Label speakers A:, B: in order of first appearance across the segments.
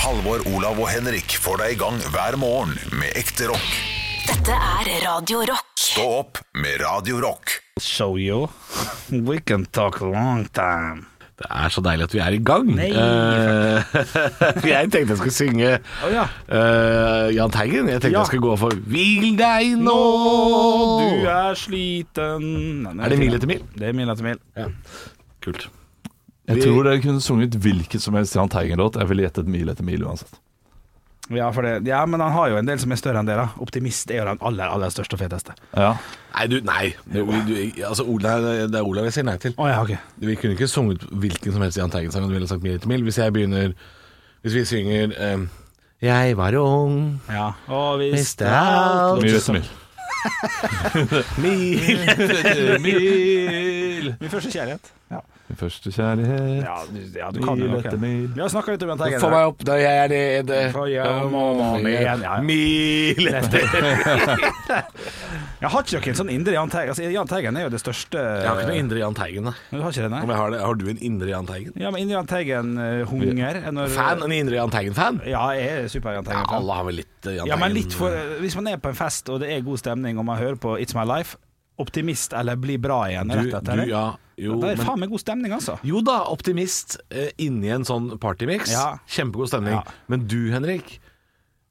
A: Halvor, Olav og Henrik får deg i gang hver morgen med ekte rock.
B: Dette er Radio Rock.
A: Stå opp med Radio Rock.
C: show you. We can talk a long time.
D: Det er så deilig at vi er i gang.
C: Nei,
D: Eh, jeg tenkte jeg skulle synge
C: Å, ja.
D: eh, Jahn Teigen. Jeg tenkte
C: Ja.
D: jeg skulle gå for 'Hvil deg nå'.
C: du er sliten Nei, nei,
D: Er det mil etter mil?
C: Det er mil etter mil.
D: Kult.
E: Jeg
D: Vi-
E: tror dere kunne sunget hvilket som helst Jahn Teigen-låt. Jeg ville gjettet mil etter mil uansett.
C: Ja, for det, ja, men han har jo en del som er større enn det. da Optimist er jo den aller aller største og feteste.
E: Ja.
D: Nei, du, nei. Det, du, altså, Olav, det er Olav jeg sier nei til.
C: Å ja, ok.
D: Vi kunne ikke sunget hvilken som helst Jahn Teigen-sang. og Du ville sagt 'Mil etter mil'. Hvis jeg begynner Hvis vi synger eh, 'Jeg var ung,
C: Ja. Og hvis
D: Mr. Alt.
E: Mil etter mil.
D: mil
E: Mil.
C: Min første kjærlighet. Ja,
E: Min første kjærlighet.
C: ja, du, ja, du kan jo
E: Mil
C: noe.
E: etter mil.
C: Vi har snakka litt om Jahn Teigen.
D: Få meg opp da jeg er nede.
C: Få hjem og om igjen, ja.
D: Mil etter
C: Jeg har ikke noen sånn indre Jahn Teigen. Altså, Jahn Teigen er jo det største
D: Jeg har ikke noe indre Jahn Teigen, nei.
C: Du har ikke det,
D: Om
C: nei?
D: jeg har, det, har du en indre Jahn Teigen?
C: Ja, men indre Jahn eh, Teigen-hunger
D: Fan? En indre Jahn Teigen-fan?
C: Ja, jeg er super Jahn
D: Ja,
C: Teigen.
D: alle har vel litt eh, Jahn Teigen
C: Ja, men litt for, hvis man er på en fest og det er god stemning og man hører på It's My Life, optimist eller bli bra igjen
D: du,
C: eh, rett etter
D: du, ja, jo,
C: det er
D: men,
C: faen meg god stemning, altså.
D: jo da, optimist eh, inni en sånn partymix.
C: Ja.
D: Kjempegod stemning.
C: Ja.
D: Men du, Henrik,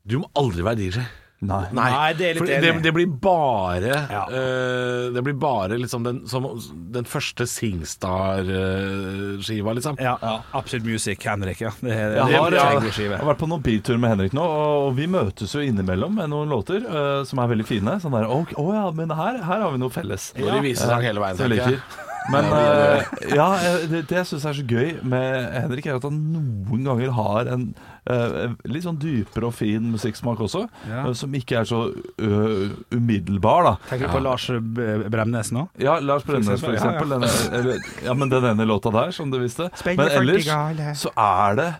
D: du må aldri være DJ.
E: Nei.
D: Nei,
C: Nei, det er litt
D: for det,
C: enig.
D: det blir bare
C: Ja.
D: eh, Det blir bare liksom den, som, den første Singstar-skiva, liksom.
C: Ja, Absolute Music, Henrik, ja. Det er,
E: Jeg
C: det
E: har,
C: er en god
E: jeg
C: skive.
E: har vært på noen biltur med Henrik nå, og vi møtes jo innimellom med noen låter eh, som er veldig fine. Sånn der, ok, å ja, men her, her har vi noe felles.
D: Når de viser sang hele veien.
E: Så jeg
D: tenker jeg.
E: liker. Men
D: Ja, det gjør
E: eh, ja, eh, det, det jeg syns er så gøy med Henrik, er at han noen ganger har en eh, litt sånn dypere og fin musikksmak også,
C: Ja.
E: eh, som ikke er så ø, umiddelbar, da.
C: Tenker du på Lars B- Bremnes nå?
E: Ja, Lars Bremnes, for
C: eksempel, ja,
E: eksempel. Den, eller, ja, men den ene låta der, som du visste.
C: Spennende for
E: Men
C: de
E: ellers
C: gale.
E: så er det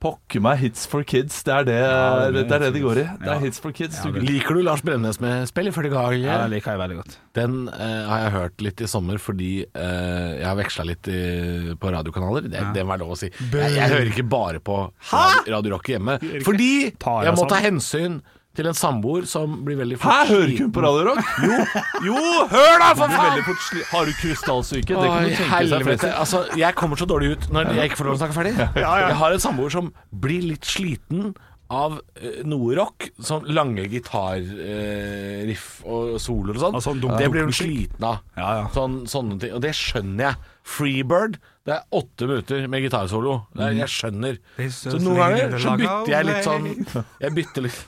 E: pokker meg hits for kids. Det er det
C: Ja,
E: det,
C: det er
E: er det de går i. Det
C: Ja.
E: er hits for kids. Du,
D: Liker du Lars Bremnes med 'Spill i 40 ganger'?
C: Ja, den liker jeg veldig godt.
D: Den eh, har jeg hørt litt i sommer fordi eh, jeg har veksla litt i, på radiokanaler. Det, det må være lov å si. Jeg, jeg hører ikke bare på radio, radio Rock hjemme. Fordi
C: Tar
D: jeg
C: jeg
D: må ta
C: sånn?
D: hensyn til en samboer som blir veldig
E: Hæ,
D: fort
E: hører ikke
D: sliten.
E: hun på Radio Rock? Jo, jo hør da, for faen! Har du krystallsyke? Det kan
D: Oi,
E: du tenke seg.
D: helvete.
E: forresten.
D: Altså, jeg kommer så dårlig ut når jeg ikke får lov å snakke ferdig. Jeg har en samboer som blir litt sliten av eh, noe rock. Sånn lange gitarriff og soloer og sånn.
E: Altså,
C: Og sånn dunk-
D: det blir hun
C: dunk-musikk.
D: sliten av.
C: Ja, ja.
D: Sånn, sånne ting. Og det skjønner jeg. Freebird, det er åtte minutter med gitarsolo. Det er- Jeg skjønner.
C: This
D: Så
C: is
D: noen ganger så
C: Lady
D: bytter jeg litt sånn
C: Lady.
D: Jeg bytter litt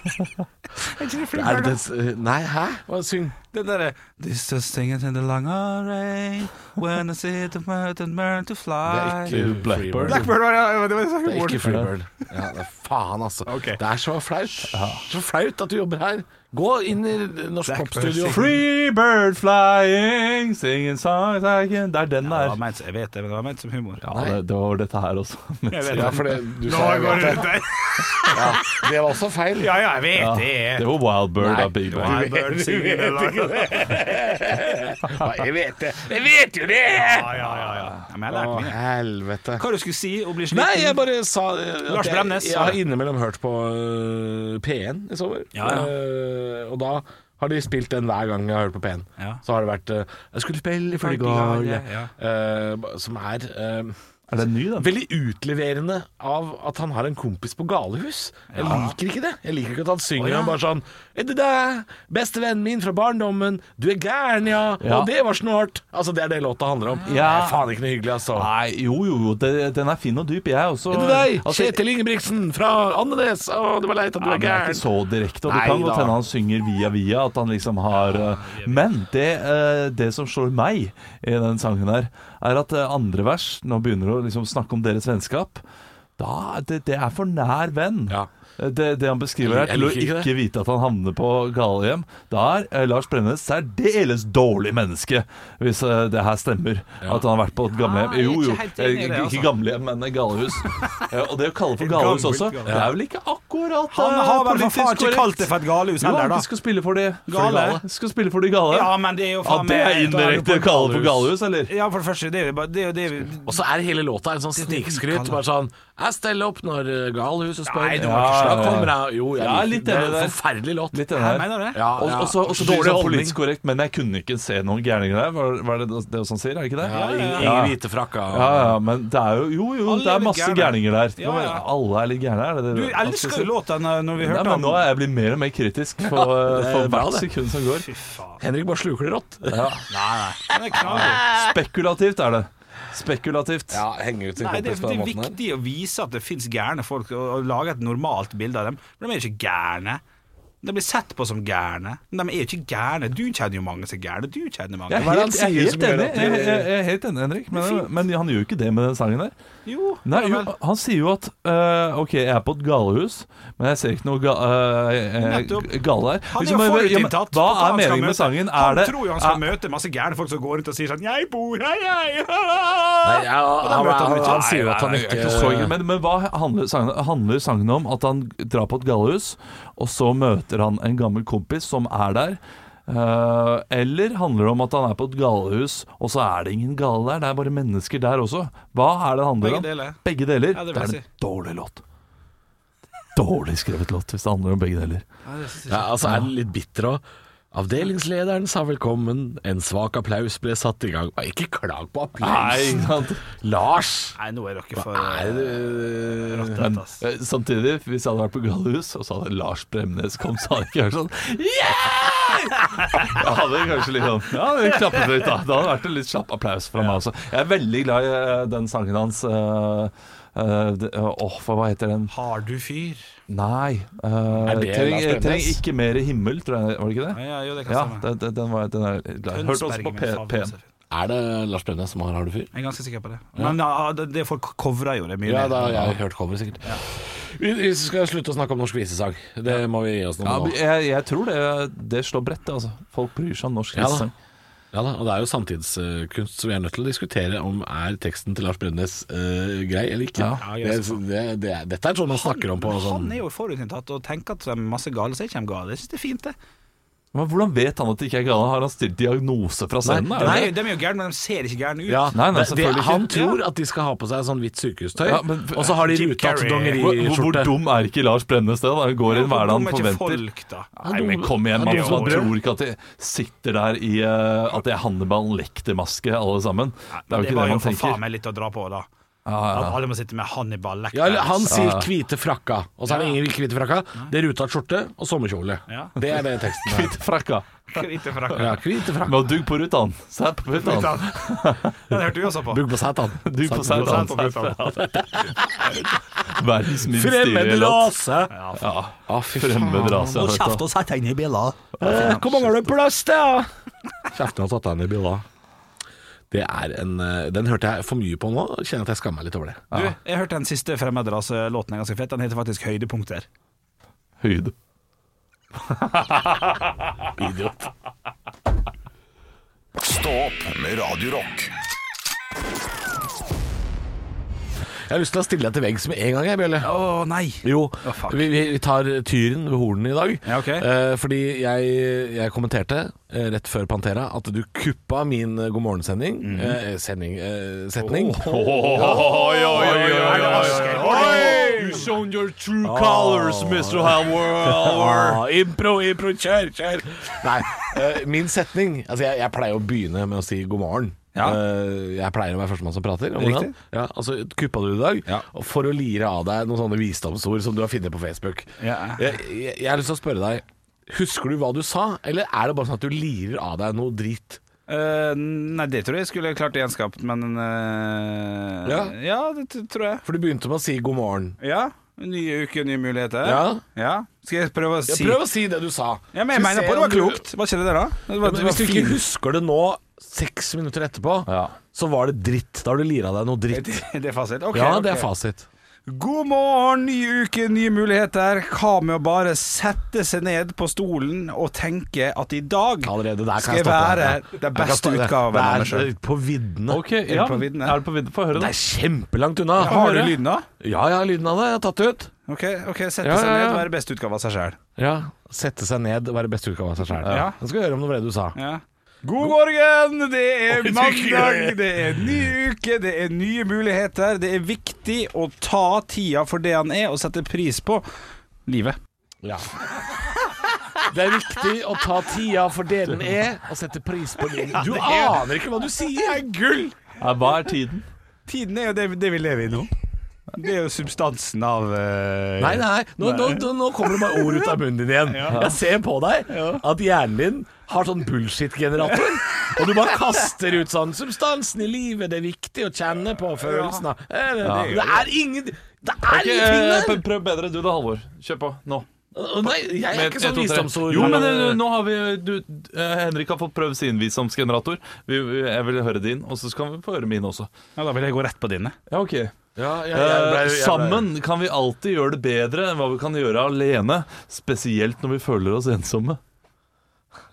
D: er det, det- Nei, hæ? Hva syng?
C: Den derre This is singing in the long rain When I see the mountain burn to
D: Det
C: fly
D: er ikke
E: Blackbird.
D: Freebird.
C: Blackbird var det, det var det jeg
D: Det er
C: sa.
D: ikke Freebird. Ja, det er faen, altså. Det er så flaut. Så flaut at du jobber her. Gå inn i Norsk Popstudio.
E: Free bird flying, singing songs I can Det er den
C: Det
E: der.
C: var ment- Jeg vet det, men det var ment som humor.
E: Ja, det, det var dette her også.
C: Jeg vet
D: Ja,
C: det.
D: for det, du sa jeg vet det. Ja, det var også feil.
C: Ja, ja, jeg vet
E: Det var Wild Bird
D: Nei,
E: av Big
D: Du
E: Bang.
C: Wild-
D: vet, du vet ikke det. Ja, Jeg vet det. Jeg vet jo det!
C: Ja, ja, ja, ja. ja men jeg
D: Å,
C: lærte mye.
D: helvete.
C: Hva du skulle si og bli sliten?
D: Nei, jeg bare sa eh, at
C: Lars Bremnes
D: Jeg, jeg
C: sa
D: har
C: det.
D: innimellom hørt på eh, P1 i sommer.
C: Ja, ja.
D: Eh, og da har de spilt den hver gang jeg har hørt på P1.
C: Ja.
D: Så har det vært eh, 'Jeg skulle spille i Følgedal',
C: Følgedal,
D: som er eh,
E: Er den ny, den?
D: veldig utleverende av at han har en kompis på galehus. Jeg liker ikke det. Jeg liker ikke at han synger
C: Å, ja.
D: og bare sånn 'Er det deg, bestevennen min fra barndommen, du er gæren, ja,
E: Ja.
D: og det var snålt'. Altså, det er det låta handler om.
E: Ja.
D: Det er faen ikke noe hyggelig, altså.
E: Nei, jo jo, jo, det- den er fin og dyp. Jeg er også
D: Er det deg,
E: Altså,
D: Kjetil Ingebrigtsen fra Andenes? Å, det var leit at du
E: Ja,
D: er
E: men det er ikke
D: gæren.
E: så direkte, og det
D: Nei
E: kan
D: da.
E: godt hende han synger via via, at han liksom har eh, Men det, eh, det som slår meg i den sangen her, er at eh, andre vers, når han begynner å liksom snakke om deres vennskap, da er det, det er for nær venn.
D: Ja.
E: Eh, Det, det han beskriver her,
D: Jeg
E: til å
D: liker ikke det.
E: ikke vite at han havner på galehjem, da er eh, Lars Bremnes særdeles dårlig menneske, hvis eh, det her stemmer. At han har vært på et gamlehjem.
C: jeg er
E: Jo,
C: ikke
E: jo,
C: helt enig i det,
E: eh,
C: altså.
E: ikke gamlehjem, men galehus. Eh, Og det å kalle for galehus
C: Gammelt
E: også,
C: galehus.
E: det er vel ikke akkurat
C: Han har vel for
E: Politisk
C: faen ikke
E: korrekt.
C: kalt det for et galehus
E: Jo,
C: heller,
E: han
C: da.
E: skal spille for de for de
C: Gale.
E: gale. Skal spille for de gale.
C: Ja, men det er jo
E: Ja,
C: faen
E: det er
C: meg-
E: indirekte å kalle det for galehus, eller?
C: Ja, for det første, det er jo bare det er jo det er jo-
D: Og så er hele låta en sånn snikskryt. Bare sånn Jeg steller opp når eh, Galhuset spør.
C: Nei, du
E: må ikke
D: Da
E: slappe av.
D: kommer jeg Jo, jeg
E: Ja,
D: liker
E: litt
D: det.
E: enig
D: er
E: der.
D: en Forferdelig låt.
E: Litt
C: Hæ,
E: enig
C: mener
E: her.
C: du det?
D: Ja,
E: Og
D: ja.
E: og så og så blir
D: Dårlig
E: det sånn
D: holdning.
E: politisk korrekt, men jeg kunne ikke se noen gærninger der. Var, var det det som sier, er det ikke det?
D: Ja, ingen,
E: Ja.
D: ingen hvite frakker.
E: Ja, ja, men det er jo Jo, jo,
C: Alle
E: det
C: er
E: er
C: litt
E: masse
C: gærne.
E: gærninger der.
C: Ja, ja.
E: Alle er litt gærne, er det det
C: Du elsker jo låta når når vi
E: Nei,
C: hørte
E: men
C: den.
E: nå er jeg blitt mer og mer kritisk for, eh,
D: det er
E: for
D: bra,
E: hvert
D: det.
E: sekund som går.
D: Henrik bare sluker det rått.
C: Den er knallgod.
E: Spekulativt er det. Spekulativt.
D: Ja, henge ut sin
C: Nei, det,
D: kompis
C: er-
D: på
C: det
D: den
C: er
D: måten her.
C: viktig å vise at det fins gærne folk, og, og lage et normalt bilde av dem. Men de er ikke gærne. De blir sett på som gærne, men de er jo ikke gærne. Du kjenner jo mange som er gærne. Du kjenner mange.
E: Jeg er
D: Hva er det han
E: helt, jeg er
D: sier som
E: helt
D: gjør
E: enig,
D: at
E: jeg,
D: du-
E: jeg, jeg er helt enig Henrik, men, men han gjør jo ikke det med den sangen der.
C: Jo,
E: Nei,
C: ja
E: jo,
C: vel.
E: han sier jo at eh, OK, jeg er på et galehus, men jeg ser ikke noe ga, eh, eh,
C: Nettopp.
E: gale her.
C: Han er
E: Liksom,
C: jo
E: jeg- ja, men
C: forutinntatt. på
E: hva
C: hva
E: er
C: han skal
E: meningen med
C: møte.
E: sangen? Er
C: Han
E: det
C: tror jo han
E: er-
C: skal møte masse gærne folk som går rundt og sier sånn 'Jeg bor her, jeg'.
D: Nei, ja,
C: da
D: han,
C: møter han
D: han,
C: ikke.
D: han sier jo at han
C: Nei, nei,
D: ikke
E: Ikke så ille, men, men hva handler sangen, handler sangen om? At han drar på et gallehus, og så møter han en gammel kompis som er der. Eh, eller handler det om at han er på et gallehus, og så er det ingen gale der? Det er bare mennesker der også. Hva er det det handler
C: Begge
E: om?
C: deler.
E: Begge deler.
C: Ja, det vil
E: det,
C: jeg
E: er
C: si.
E: en dårlig låt. Dårlig skrevet låt, hvis det handler om begge deler.
D: Ja, altså er den litt bitter òg. Avdelingslederen sa velkommen, en svak applaus ble satt i gang. Ikke klag på applausen!
E: sant?
D: Lars!
C: Nei, nå er dere for
D: Nei,
C: eh,
D: du
C: rottet, ass.
E: Eh, Samtidig, hvis jeg hadde vært på galehus, og så hadde Lars Bremnes kom, så hadde jeg ikke vært sånn Yeah! Jeg hadde kanskje litt sånn Ja, det klappet litt, da. Det hadde vært en litt slapp applaus fra meg også. Jeg er veldig glad i eh, den sangen hans. eh, eh, det- Åh, for hva heter den?
C: Har du fyr?
E: Nei eh,
D: det
E: treng,
D: Lars Bremnes?
E: treng ikke mer himmel, tror jeg. Var det ikke
C: Ja,
E: det?
C: ja, jo, det kan
E: Ja,
C: stemme.
E: den, den- den, var, den er jeg glad. i. Hørte også på
C: Tønsberg,
E: P-
C: min
E: P1.
C: favoritt.
D: Er det Lars Bremnes som har Har du fyr?
C: Jeg er ganske sikker på det. Men ja, det, det folk covrer jo det mye.
D: Ja,
C: mer.
D: da, jeg har hørt cover, sikkert. Vi vi skal slutte å snakke om norsk visesang. Det må vi gi oss
E: Ja,
D: noe nå.
E: jeg, jeg tror det, det slår bredt, det, altså. Folk bryr seg om norsk
D: Ja da.
E: visesang.
D: Ja da, og Det er jo samtidskunst som vi er nødt til å diskutere om er teksten til Lars Brønnes eh, grei eller ikke.
E: Ja.
D: det, det, det, dette er sånn man snakker om på sånn
C: Han er jo forutinntatt og tenker at det er masse gale, så er ikke de gale. Jeg synes det er fint, det.
E: Men Hvordan vet han at det ikke er gale? Har han stilt diagnose fra scenen? er det
C: Nei,
E: det?
C: de er jo gærne, men de ser ikke gærne ut.
D: ja,
E: Nei, nei,
D: det- det,
E: selvfølgelig ikke.
D: Altså, Han tror at de skal ha på seg sånn hvitt sykehustøy,
E: Ja, men-
D: og så har de
C: Jim
D: rutete
C: Carrey.
E: Hvor, hvor, hvor
D: dongeriskjorte.
E: dum er ikke Lars Bremnes det? da? Han går
C: Ja,
E: inn hver
C: hvorfor
E: dag han
C: kommer ikke
E: forventer.
C: Folk, da.
E: Nei, men kom igjen,
D: Han
E: man,
D: er dum som
E: man
D: et brød.
E: tror ikke at de sitter der i eh, At det er Hannibal Lecter-maske, alle sammen. Det
C: Men
E: er jo
C: det
E: ikke
C: var
E: det
C: jo
E: man
C: for faen
E: tenker.
C: meg litt å dra på, da.
E: Ja, ja.
C: At alle må sitte med Hannibal Lecter.
D: Ja, eller han
C: liksom.
D: sier 'hvite frakka', og så er det ingen hvite frakka. Det er rutete skjorte og sommerkjole.
C: Ja.
D: Det er det teksten er.
E: Kvitt frakka.
C: Ikke for akkurat.
D: Ja, hvite frakka.
E: Med å dugg på rutan. Sæp på rutan.
C: Den hørte vi også på.
D: Bugg på setan.
E: Dugg på
D: Setan.
E: setan.
C: På Bugg på
E: Verdens minst
D: Fremmed
E: stilige låt.
D: rase!
E: Ja,
D: Å, fy
E: fremmed rase. jeg vet da.
F: og sett henne i biler.
D: Eh, Hvor mange har du plass til? da? Kjeften har tatt deg ned i bilen. Det er en, eh, den hørte jeg for mye på nå, og kjenner at jeg skammer meg litt over det.
C: Du, jeg hørte den siste Fremmedras-låten er ganske fett. Den heter faktisk 'Høydepunkter'.
E: Høyde.
A: Stå opp med Radio Rock.
D: Jeg har lyst til å stille deg til veggs med en gang, jeg, Bjelle.
C: Å nei!
D: Jo,
C: fuck.
D: vi, vi vi tar tyren ved hornene i dag.
C: Ja, ok.
D: Eh, fordi jeg, jeg kommenterte eh, rett før Pantera at du kuppa min eh, God morgen-sending. eh, sending, eh, setning.
E: Oi, oi, oi, oi, oi, oi. You shown your true colors, Mr. Halvor.
D: Ah, impro, impro, kjør, kjør! Nei, eh, min setning Altså, jeg, jeg pleier å begynne med å si god morgen.
C: Ja.
D: Eh, jeg pleier å være førstemann som prater. Om morgenen.
C: Riktig.
D: ja, altså, kuppa du i dag
C: Ja.
D: og for å lire av deg noen sånne visdomsord som du har funnet på Facebook.
C: Ja.
D: Jeg, jeg, jeg har lyst til å spørre deg Husker du hva du sa, eller er det bare sånn at du lirer av deg noe drit?
C: Eh, nei, det tror jeg skulle klart gjenskapt, men eh,
D: Ja.
C: ja, det t- tror jeg.
D: For du begynte med å si god morgen.
C: Ja. Nye uker, nye muligheter.
D: Ja.
C: Skal jeg prøve å
D: Ja,
C: si
D: prøv å si det du sa.
C: Ja, men jeg
D: Så
C: mener
D: ser
C: på det
D: om
C: var
D: du-
C: klokt. Var ikke det det, da? Det var,
D: Ja, men
C: det var
D: hvis du ikke
C: fint.
D: husker det nå, seks minutter etterpå,
E: Ja.
D: så var det dritt. Da har du lira deg noe dritt.
C: Det er fasit. Ok,
D: ja, det er
C: ok.
D: fasit.
C: God morgen, ny uke, nye muligheter. Hva med å bare sette seg ned på stolen og tenke at i dag
D: Allerede der kan
C: skal
D: jeg
C: jeg
D: stoppe.
C: være
D: deg.
C: den
D: Jeg kan
C: beste
D: stoppe deg.
C: utgaven av meg
D: Det
C: sjøl?
D: er på viddene.
E: Ok, ja,
C: på
E: men
C: vidden, ja.
E: er det på vidden? Få høre,
D: Det
E: da.
D: er kjempelangt unna.
C: Har du lyden, da?
D: Ja, ja, lyden av det. Jeg har tatt det ut.
C: Ok, ok, sette
D: Ja,
C: seg
D: ja,
C: ned
D: ja.
C: og være best utgave av seg sjøl.
D: Ja. Sette seg ned og være beste utgave av seg sjæl.
C: Ja.
D: Jeg skal høre om det var det du sa.
C: Ja. God morgen! Det er
D: Oi,
C: mandag,
D: trykker.
C: det er ny uke, det er nye muligheter. Det er viktig å ta tida for det han er, og sette pris på livet.
D: Ja. Det er viktig å ta tida for det den er, og sette pris på den. Du aner ikke hva du sier!
C: Gull!
E: Ja, hva er tiden?
C: Tiden er jo det, det vi lever i nå. Det er jo substansen av eh,
D: Nei, nei, nå, nå, nå- nå kommer det bare ord ut av munnen din igjen. Jeg ser på deg at hjernen din har sånn bullshit-generator. Og du bare kaster ut sånn 'Substansen i livet, det er viktig å kjenne på følelsen av Eh, Det er- det er ingen Det er
E: Ikke, eh,
D: ingenting der!
E: pr- prøv bedre du da, Halvor. Kjør på. Nå.
D: Å, Nei, jeg er
E: Med
D: ikke
E: et,
D: sånn
E: to, tre.
D: visdomsord.
E: Jo, men eh, nå har vi du, eh, Henrik har fått prøve sin visdomsgenerator. Vi, vi, jeg vil høre din, og så skal vi få høre min også.
C: Ja, da vil jeg gå rett på dine.
E: Ja, ok
D: Ja, jeg- jeg
E: Eh,
D: ble- jeg ble-
E: Sammen kan vi alltid gjøre det bedre enn hva vi kan gjøre alene. Spesielt når vi føler oss ensomme.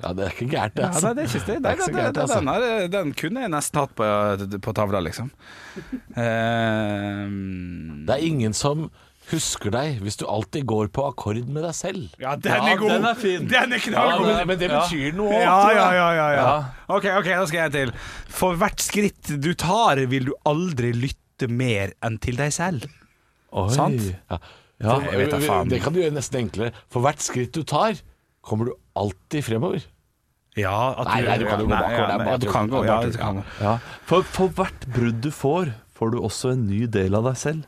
D: Ja, det er ikke gærent, det.
C: Ja,
D: altså.
C: nei, det er ikke det.
D: Det er ikke så
C: den,
D: gærent,
C: den,
D: altså.
C: den, er- den kunne jeg nesten hatt på, på tavla, liksom. Ehm, Eh,
D: Det er ingen som husker deg hvis du alltid går på akkord med deg selv.
C: ja,
E: Ja, den er fin.
C: Den er
E: Ja,
C: knallgod.
E: den er- men det betyr
D: noe
C: Ja, ja, ja, ja, ja. Ok, ok, da skal jeg til. For hvert skritt du tar, vil du aldri lytte mer enn til deg selv.
E: Oi.
C: Sant?
D: Ja.
C: Ja, jeg vet da faen.
D: Det kan du gjøre nesten enklere. For hvert skritt du tar, kommer du alltid fremover.
C: Ja, at
D: Nei, nei, du kan jo gå
C: Nei,
D: bakover, det
C: nei,
D: er bare
C: ja, du
D: tull.
C: kan gå,
D: Det er
C: ja,
D: bare
C: du
D: tull.
C: kan gå.
E: Ja. For, for hvert brudd du får, får du også en ny del av deg selv.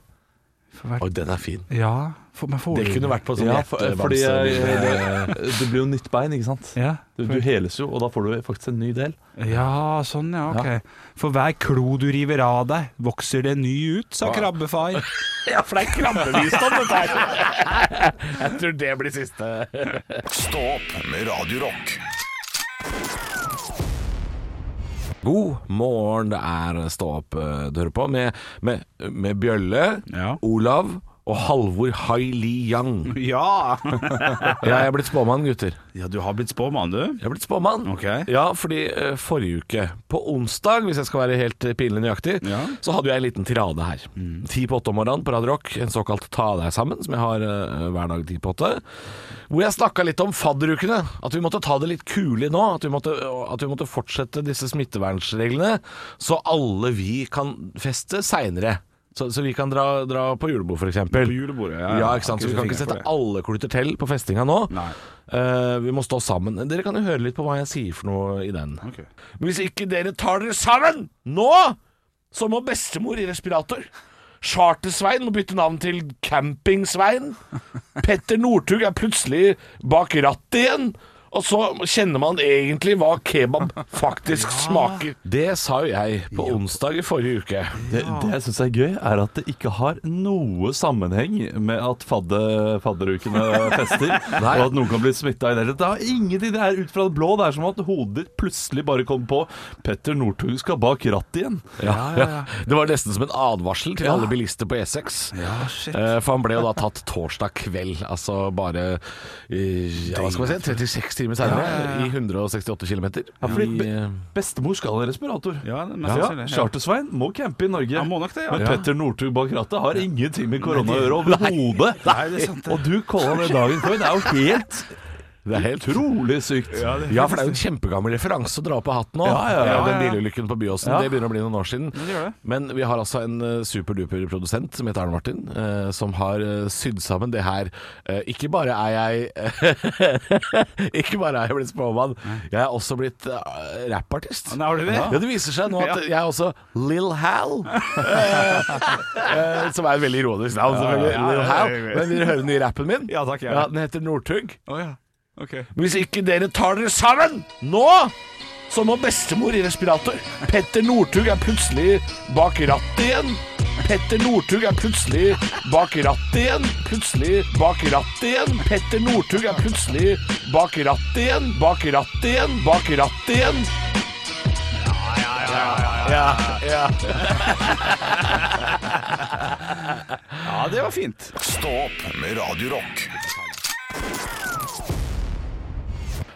D: Oi, den er fin.
C: Ja, for, men får
D: Det kunne vært på sånn
E: Ja, for,
D: hjertebamse-
E: fordi eh, det, det blir jo nytt bein, ikke sant?
C: ja,
E: Du, du
C: for,
E: heles jo, og da får du faktisk en ny del.
C: ja, sånn, ja, ok. For hver klo du river av deg, vokser det en ny ut, sa krabbefar.
D: Ja, for det er krabbevisdom, dette her. Jeg tror det blir siste.
A: Stå opp med Radio Rock.
D: God morgen, det er Stå opp eh, du hører på, med, med, med Bjølle,
C: Ja.
D: Olav og Halvor Hai Li Yang.
C: Ja.
D: Jeg er blitt spåmann, gutter.
C: ja, du har blitt spåmann, du.
D: Jeg er blitt spåmann.
C: Ok.
D: Ja, fordi eh, forrige uke, på onsdag, hvis jeg skal være helt eh, pinlig nøyaktig,
C: Ja. Mm.
D: så hadde jeg en liten tirade her. Ti på åtte om morgenen på Radio Rock, en såkalt Ta deg sammen, som jeg har eh, hver dag ti på åtte. Hvor jeg snakka litt om fadderukene. At vi måtte ta det litt kulig nå. At vi, måtte, at vi måtte fortsette disse smittevernreglene, så alle vi kan feste seinere. Så, så vi kan dra, dra på julebord, f.eks.
C: På julebordet, ja,
D: ja.
C: ja.
D: ikke sant? Så vi kan ikke sette
C: Fingeren på det.
D: alle kluter til på festinga nå.
C: Nei.
D: Eh, vi må stå sammen. Dere kan jo høre litt på hva jeg sier for noe i den. Men hvis ikke dere tar dere sammen nå, så må bestemor i respirator. Charter-Svein må bytte navn til Camping-Svein. Petter Northug er plutselig bak rattet igjen. Og så kjenner man egentlig hva kebab faktisk smaker. Det sa jo jeg på onsdag i forrige uke.
E: Det, det jeg syns er gøy, er at det ikke har noe sammenheng med at fadde, fadderukene fester, og at noen kan bli smitta i det hele tatt. Det har ingenting, det er ut fra det blå. Det er som at hodet ditt plutselig bare kom på Petter Northug skal bak rattet igjen.
D: Det var nesten som en advarsel til alle bilister på E6. Eh, For han ble jo da tatt torsdag kveld, altså bare eh, ja, Hva skal man si, 36 timer senere, i 168 km.
E: Ja, fordi be bestemor skal ha respirator.
C: eh, Ja, det er mest
E: Ja,
C: sannsynlig, ja.
E: Charter-Svein må campe i Norge.
C: Han må nok det, ja.
E: Men
C: Ja.
E: Petter Northug bak rattet har ingenting med korona å gjøre overhodet.
C: Nei, det er sant, det.
E: Og du kaller det dagen før. Det er jo helt
D: Det er helt
E: utrolig sykt.
D: Ja, for det er jo en kjempegammel referanse å dra på hatten nå.
E: Ja, ja, ja,
C: ja,
D: Den
C: ja.
D: bilulykken på Byåsen.
E: Ja.
D: Det begynner å bli noen år siden.
C: det gjør det.
D: Men vi har altså en eh, superduper produsent som heter Arne Martin, eh, som har eh, sydd sammen det her. Eh, ikke bare er jeg Ikke bare er jeg blitt spåmann, jeg er også blitt eh, rappartist.
C: Nei, har du det?
D: Ja, det viser seg nå at jeg er også Lil Hal. Eh, eh, som er et veldig ironisk navn, selvfølgelig.
C: ja, ja,
D: Lil Hal.
C: jeg vet.
D: Men vil du høre den nye rappen min?
C: Ja, takk, jeg.
D: Ja, den heter Northug.
C: Å ja. Ok.
D: Men Hvis ikke dere tar dere sammen nå, så må bestemor i respirator. Petter Northug er plutselig bak rattet igjen. Petter Northug er plutselig bak rattet igjen. Plutselig bak rattet igjen. Petter Northug er plutselig bak rattet igjen. Bak rattet igjen. Bak rattet igjen. Ja, ja, ja.
C: Ja, det var fint.
A: Stå opp med Radio Rock.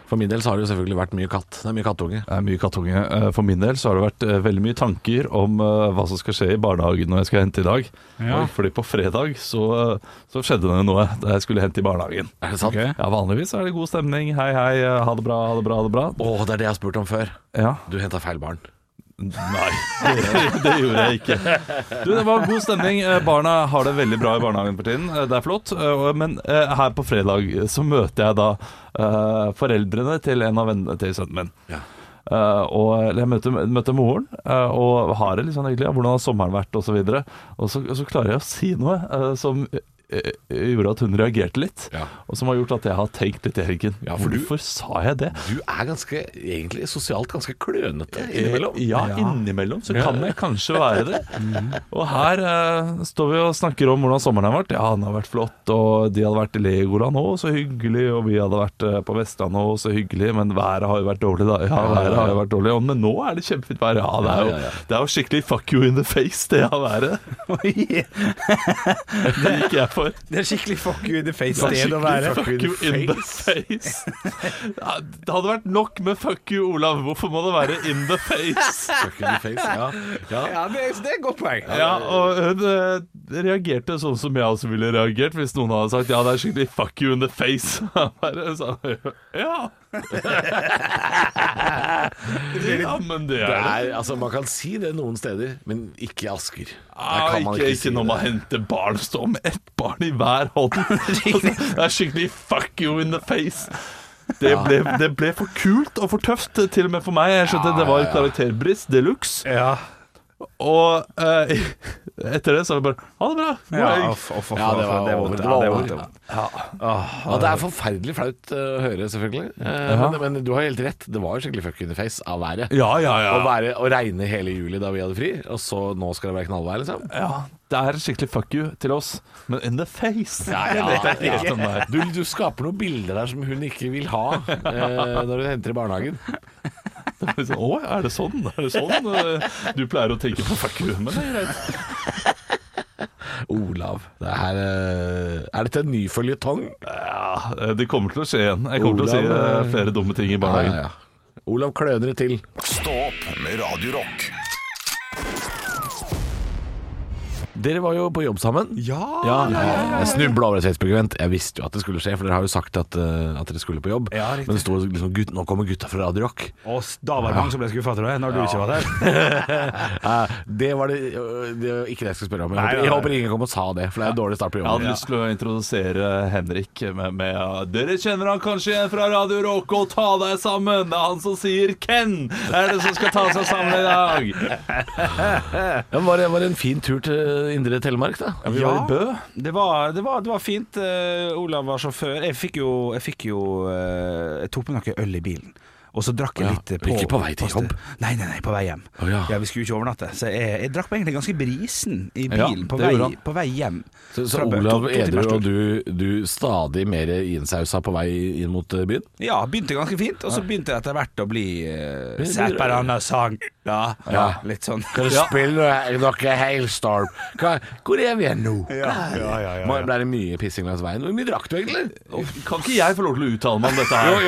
D: For min del så har det jo selvfølgelig vært mye katt. Det er mye kattunge.
E: Det er mye kattunge. Eh, For min del så har det vært eh, veldig mye tanker om eh, hva som skal skje i barnehagen når jeg skal hente i dag.
C: Ja.
E: Oi, Fordi på fredag så, eh, så skjedde det noe da jeg skulle hente i barnehagen.
D: Er det sant?
C: Ok.
E: Ja, Vanligvis er det god stemning. Hei, hei, eh, ha det bra, ha det bra, ha det bra.
D: Å, det er det jeg har spurt om før.
E: Ja.
D: Du henta feil barn.
E: Nei, det, det gjorde jeg ikke. Du, Det var god stemning. Eh, Barna har det veldig bra i barnehagen for tiden. Eh, Det er flott. Eh, og- Men eh, her på fredag eh, så møter jeg da eh, foreldrene til en av vennene til sønnen min.
D: Ja.
E: Eh, og eller jeg møter, møter moren eh, og har det litt sånn hyggelig. ja, Hvordan har sommeren vært, osv. Og, og, så- og så klarer jeg å si noe eh, som eh, gjorde at hun reagerte litt.
D: Ja.
E: Og som har gjort at jeg har tenkt litt i helgen.
D: Ja, for du-
E: Hvorfor sa jeg det?
D: Du er ganske, egentlig sosialt ganske klønete innimellom.
E: Eh, Ja, Mm. innimellom så kan jeg kanskje være det. Og her eh, står vi og snakker om hvordan sommeren har vært. Ja, den har vært flott, og de hadde vært i Legoland òg, så hyggelig. Og vi hadde vært eh, på Vestlandet òg, så hyggelig. Men været har jo vært dårlig, da. Ja, været har jo vært dårlig. Og, men nå er det kjempefint vær. Ja, det er,
D: Ja, ja, ja.
E: jo, det er jo skikkelig fuck you in the face, det av været. Det gikk jeg for.
C: Det er skikkelig fuck you in the face
E: Det er
C: sted å
E: skikkelig
C: være.
E: fuck you in the face. Ja, Det hadde vært nok med fuck you, Olav. Hvorfor må det være in the face?
D: Fuck in the Eh, face, ja. ja.
C: Ja, det, er- det er et godt poeng.
E: Ja, og hun eh, reagerte sånn som jeg også ville reagert hvis noen hadde sagt Ja, det er skikkelig fuck you in the face. Bare sånn, ja. ja, men det
D: Det
E: er det.
D: er, altså, man kan si det noen steder, men ikke i Asker. Der
E: Ah,
D: kan man
E: ikke,
D: ikke
E: ikke
D: si
E: når man
D: det.
E: henter barn, stå med ett barn i hver hånd. Altså, det er skikkelig fuck you in the face. Det ble, det ble for kult og for tøft, til og med for meg. Jeg skjønte det var karakterbrist de luxe.
C: Ja.
E: Og eh, etter det så var det bare ha det bra. God helg.
C: Ja, off, off, off,
D: Ja, det
C: off,
D: var
C: det er
D: over.
C: vondt.
D: Det
C: Ja,
D: var Ah,
C: det er
D: over.
C: vondt, det er
D: Ja.
C: vondt.
D: Ja, det er forferdelig flaut eh, å høre, selvfølgelig. Eh, men, men du har helt rett. Det var jo skikkelig fuck in the face av været.
E: Ja, ja, ja.
D: Å, være, å regne hele juli da vi hadde fri, og så nå skal det være knallvær, liksom.
E: Ja, det er skikkelig fuck you til oss, men in the face.
D: ja,
E: sånn
D: ja. Du, du skaper noen bilder der som hun ikke vil ha eh, når hun henter i barnehagen.
E: Liksom, Å, er det sånn? Er det sånn eh, du pleier å tenke på fuck you? Men det er greit.
D: Olav, det her, eh, er dette en ny føljetong?
E: Ja, det kommer til å skje igjen. Jeg kommer til å si eh,
D: Olav, eh,
E: flere dumme ting i
D: Ja, ja,
E: barnehagen.
D: ja. Olav kløner det til.
A: Stå opp med Radio Rock.
D: Dere var jo på jobb sammen. Ja, Jeg snubla over et Facebook-event. Jeg visste jo at det skulle skje, for dere har jo sagt at, eh, at dere skulle på jobb.
C: Ja, riktig.
D: Men det sto liksom gutt, 'Nå kommer gutta fra Radio Rock'.
C: Og s- da var det mange som ble skuffa, tror jeg, når du ikke var der.
D: Eh, det var det, øh, det var ikke det jeg skulle spørre om. Jeg,
C: Nei, nei,
D: håper, jeg
C: nei.
D: håper ingen kom og sa det, for det er en dårlig start på
E: Jeg hadde
D: jobben.
E: lyst til å introdusere Henrik med, med ja, Dere kjenner han kanskje igjen fra Radio Rock, og ta deg sammen! Det er han som sier Ken! Er det som skal ta seg sammen i dag?
D: Ja, men var, det, var det en fin tur til indre Telemark, da?
E: Vi var i Bø.
C: Det var, det var, det var fint. Eh, Olav var sjåfør. Jeg fikk jo, jeg, fikk jo eh, jeg tok med noe øl i bilen. Og så drakk jeg
D: Ja,
C: litt eh, på
D: ikke på vei til
C: på sted.
D: jobb?
C: Nei, nei, nei, på vei hjem.
D: Å, ja.
C: vi skulle jo ikke overnatte. Så jeg, jeg drakk meg egentlig ganske brisen i
E: Ja,
C: bilen på,
E: det gjorde
C: vei,
E: han.
C: på vei hjem.
D: Så, så
C: fra Bø.
D: Olav
C: To- to timers
D: edru
C: tur.
D: og du, du stadig mer innsausa på vei inn mot eh, byen?
C: Ja, begynte ganske fint, og så begynte det etter hvert å bli uh, Sett på denne sang. Ja, ja,
D: Ja.
C: litt sånn.
D: Kan du spille noe Hailstorm? Hva, hvor er vi nå? Ja, Ble det mye pissing langs veien? Hvor mye drakk du egentlig?
E: Kan ikke jeg få lov til å uttale meg om dette her?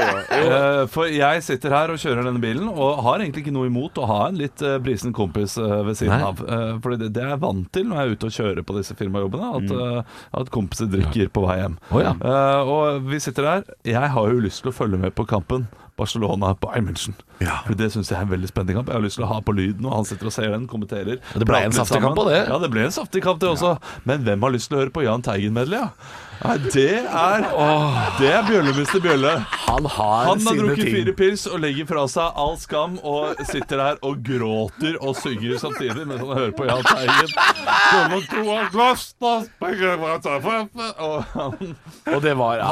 E: Eh, For jeg sitter her og kjører denne bilen, og har egentlig ikke noe imot å ha en litt eh, brisen kompis eh, ved siden
D: Nei.
E: av. Eh, Fordi det, det er jeg vant til når jeg er ute og kjører på disse firmajobbene, at, eh, at kompiser drikker på vei hjem.
D: Mm. Å, ja.
E: Eh, Og vi sitter her. Jeg har jo lyst til å følge med på kampen. Barcelona på München. For Det syns jeg er en veldig spennende kamp. Jeg har lyst til å ha på lyden, og han sitter og ser den, kommenterer.
D: det ble
E: prater
D: en
E: litt
D: saftig kamp
E: sammen.
D: av det.
E: Ja, det ble en saftig kamp, det også. Men hvem har lyst til å høre på Jahn Teigen-medley, ja? Nei, det er Åh, Det er bjøllemester Bjølle.
D: Han har,
E: Han har
D: sine
E: drukket
D: ting.
E: fire pils og legger fra seg all skam og sitter her og gråter og synger samtidig mens han hører på Jahn Teigen. Kom og to av glass, da sprenger jeg fra taffet. Og han-
D: Og det var ja,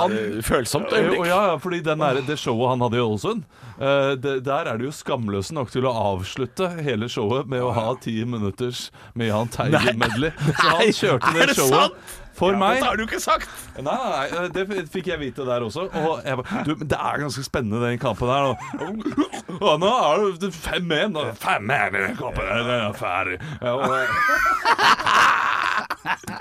D: følsomt
E: Eh, og
D: øyeblikk.
E: ja, ja, fordi den der, det showet han hadde i Ålesund, eh, det- der er det jo skamløse nok til å avslutte hele showet med å ha ti minutters med Jahn Teigen-medley. Så han kjørte
D: er
E: det
D: det
E: showet
D: sant?
E: for meg.
D: Dette har du ikke sagt!
E: Nei, nei, nei, det f- fikk jeg vite der også. Og jeg bare Du, men det er ganske spennende, den kampen her. nå. Og nå er det 5-1. og 5-1 i den kampen. her, Den er ferdig. Ja, og-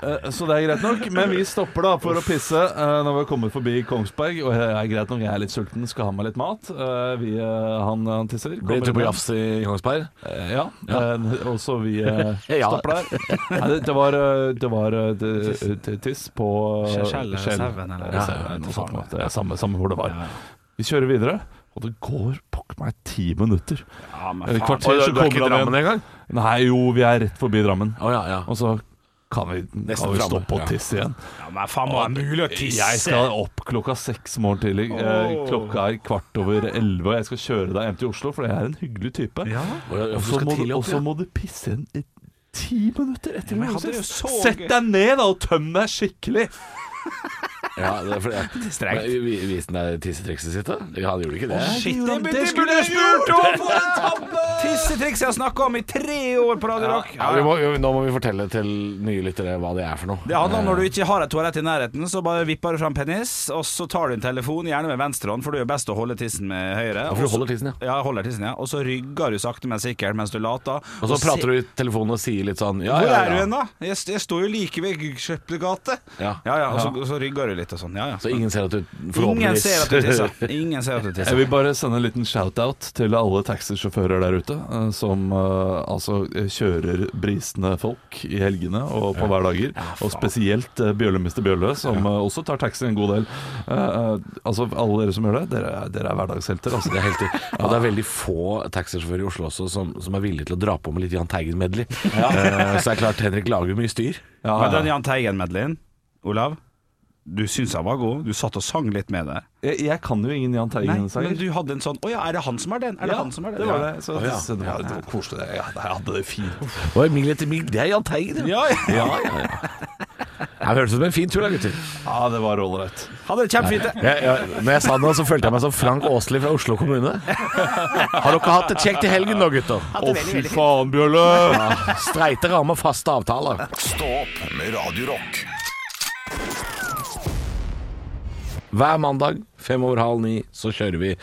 E: Eh, Så det er greit nok, men vi stopper da for å pisse eh, når vi har kommet forbi Kongsberg. Og jeg er greit nok, jeg er litt sulten, skal ha meg litt mat. Eh, Vi, eh, han, han tisser.
D: Blir det
E: kommer
D: tur på
E: hjem.
D: jafs i Kongsberg?
E: Eh, Ja. Eh, Og så vi eh,
D: Ja.
E: stopper der. Nei, det, det var, eh, det var eh, det- det- tiss på eh,
C: Skjell eller
E: skjell.
C: sauen eller-
E: Ja, ja, noe sånt. noe. Det er samme, samme hvor det var. Vi kjører videre, og det går pokker meg ti minutter.
C: Ja, men
E: Et
C: faen.
E: kvarter så kommer han igjen.
D: engang?
E: Nei jo, vi er rett forbi Drammen.
D: Å ja, ja.
E: Og så kan vi, kan vi
D: framme.
E: stoppe
D: Ja.
E: og tisse igjen.
C: Ja, men faen, må det være mulig å tisse?
E: Jeg skal opp klokka seks morgen tidlig. Eh, Klokka er kvart over elleve, og jeg skal kjøre deg hjem til Oslo, for jeg er en hyggelig type.
C: Ja.
D: Å, ja, ja, for du
E: Og så
D: skal
E: må, du-
D: tidlig opp,
E: og så
D: ja.
E: må du pisse igjen i ti minutter etter
C: men jeg
E: du
C: hadde
E: har
C: jo
E: sett.
C: så
E: Sett
C: gøy.
E: deg ned, da, og tøm deg skikkelig!
D: ja, det er fordi jeg,
C: strengt.
D: Men vi- Viste han deg tissetrikset sitt, da? Ja, han gjorde ikke det.
C: Shit,
E: gjorde
C: det,
E: han.
C: det,
E: Det
C: skulle
E: skulle
C: jeg
E: jeg
C: spurt om! For en tabbe! Tissetriks jeg har snakka om i tre år på Radio Rock.
D: Ja, vi må, vi, nå må vi fortelle til nye lyttere hva det er for noe.
C: Det handler om når du ikke har et toalett i nærheten, så bare vipper du fram penis, og så tar du en telefon, gjerne med venstre hånd, for det er jo best å holde tissen med høyre.
D: Ja, for du holder tissen, ja.
C: Ja, jeg holder tissen, ja. Og så rygger du sakte, men sikkert mens du later.
D: Og så prater du i telefonen og sier litt sånn ja,
C: Hvor
D: ja,
C: er du hen,
D: ja.
C: da? Jeg, st- jeg står jo like ved Kjøpte gate.
D: Ja.
C: ja, og så, og så rygger du litt og sånn. Ja, ja.
D: Så ingen ser at du
C: Ingen
D: forhåpentligvis
C: ser at du tisser. Ingen ser at du
E: Jeg
C: tisser.
E: vil bare sende en liten shout-out til alle taxisjåfører der ute, eh, som eh, altså eh, kjører brisende folk i helgene og på hverdager. og spesielt eh, Bjølle-mister Bjølle, som eh, også tar taxi en god del. Eh, eh, altså, alle dere som gjør det, dere, er- dere er hverdagshelter. Altså.
D: Det er helt riktig. Og det er veldig få taxisjåfører i Oslo også som, som er villige til å dra på med litt Jahn Teigen-medley. Eh, så det er klart, Henrik lager mye styr.
E: Ja,
C: Men
E: ja.
C: den Jahn Teigen-medleyen, Olav, du syns han var god. Du satt og sang litt med der.
E: Jeg, jeg kan jo ingen Jahn
C: Nei, men
E: Teigen-sanger.
C: du hadde en sånn Å ja, er det han som er den? Er det han som er den?
E: det var
C: Ja.
E: det. Så,
D: Å, ja.
E: så det, var, det var koselig. Jeg, jeg hadde det fint.
D: Og Emilie til Mil, det er Jahn Teigen,
C: Ja, ja.
D: ja, ja, ja. Det høres ut som en fin tur, da, gutter.
E: Ja, det var ålreit.
C: Ha det kjempefint. det.
D: Jeg, jeg, når jeg sa det nå, så følte jeg meg som Frank Åsli fra Oslo kommune. Har dere hatt det kjekt i helgen nå, gutter?
E: Å, fy faen, Bjølle!
D: Streite rammer, faste avtaler.
A: Stå opp med Radio Rock.
D: Hver mandag fem over halv ni så kjører vi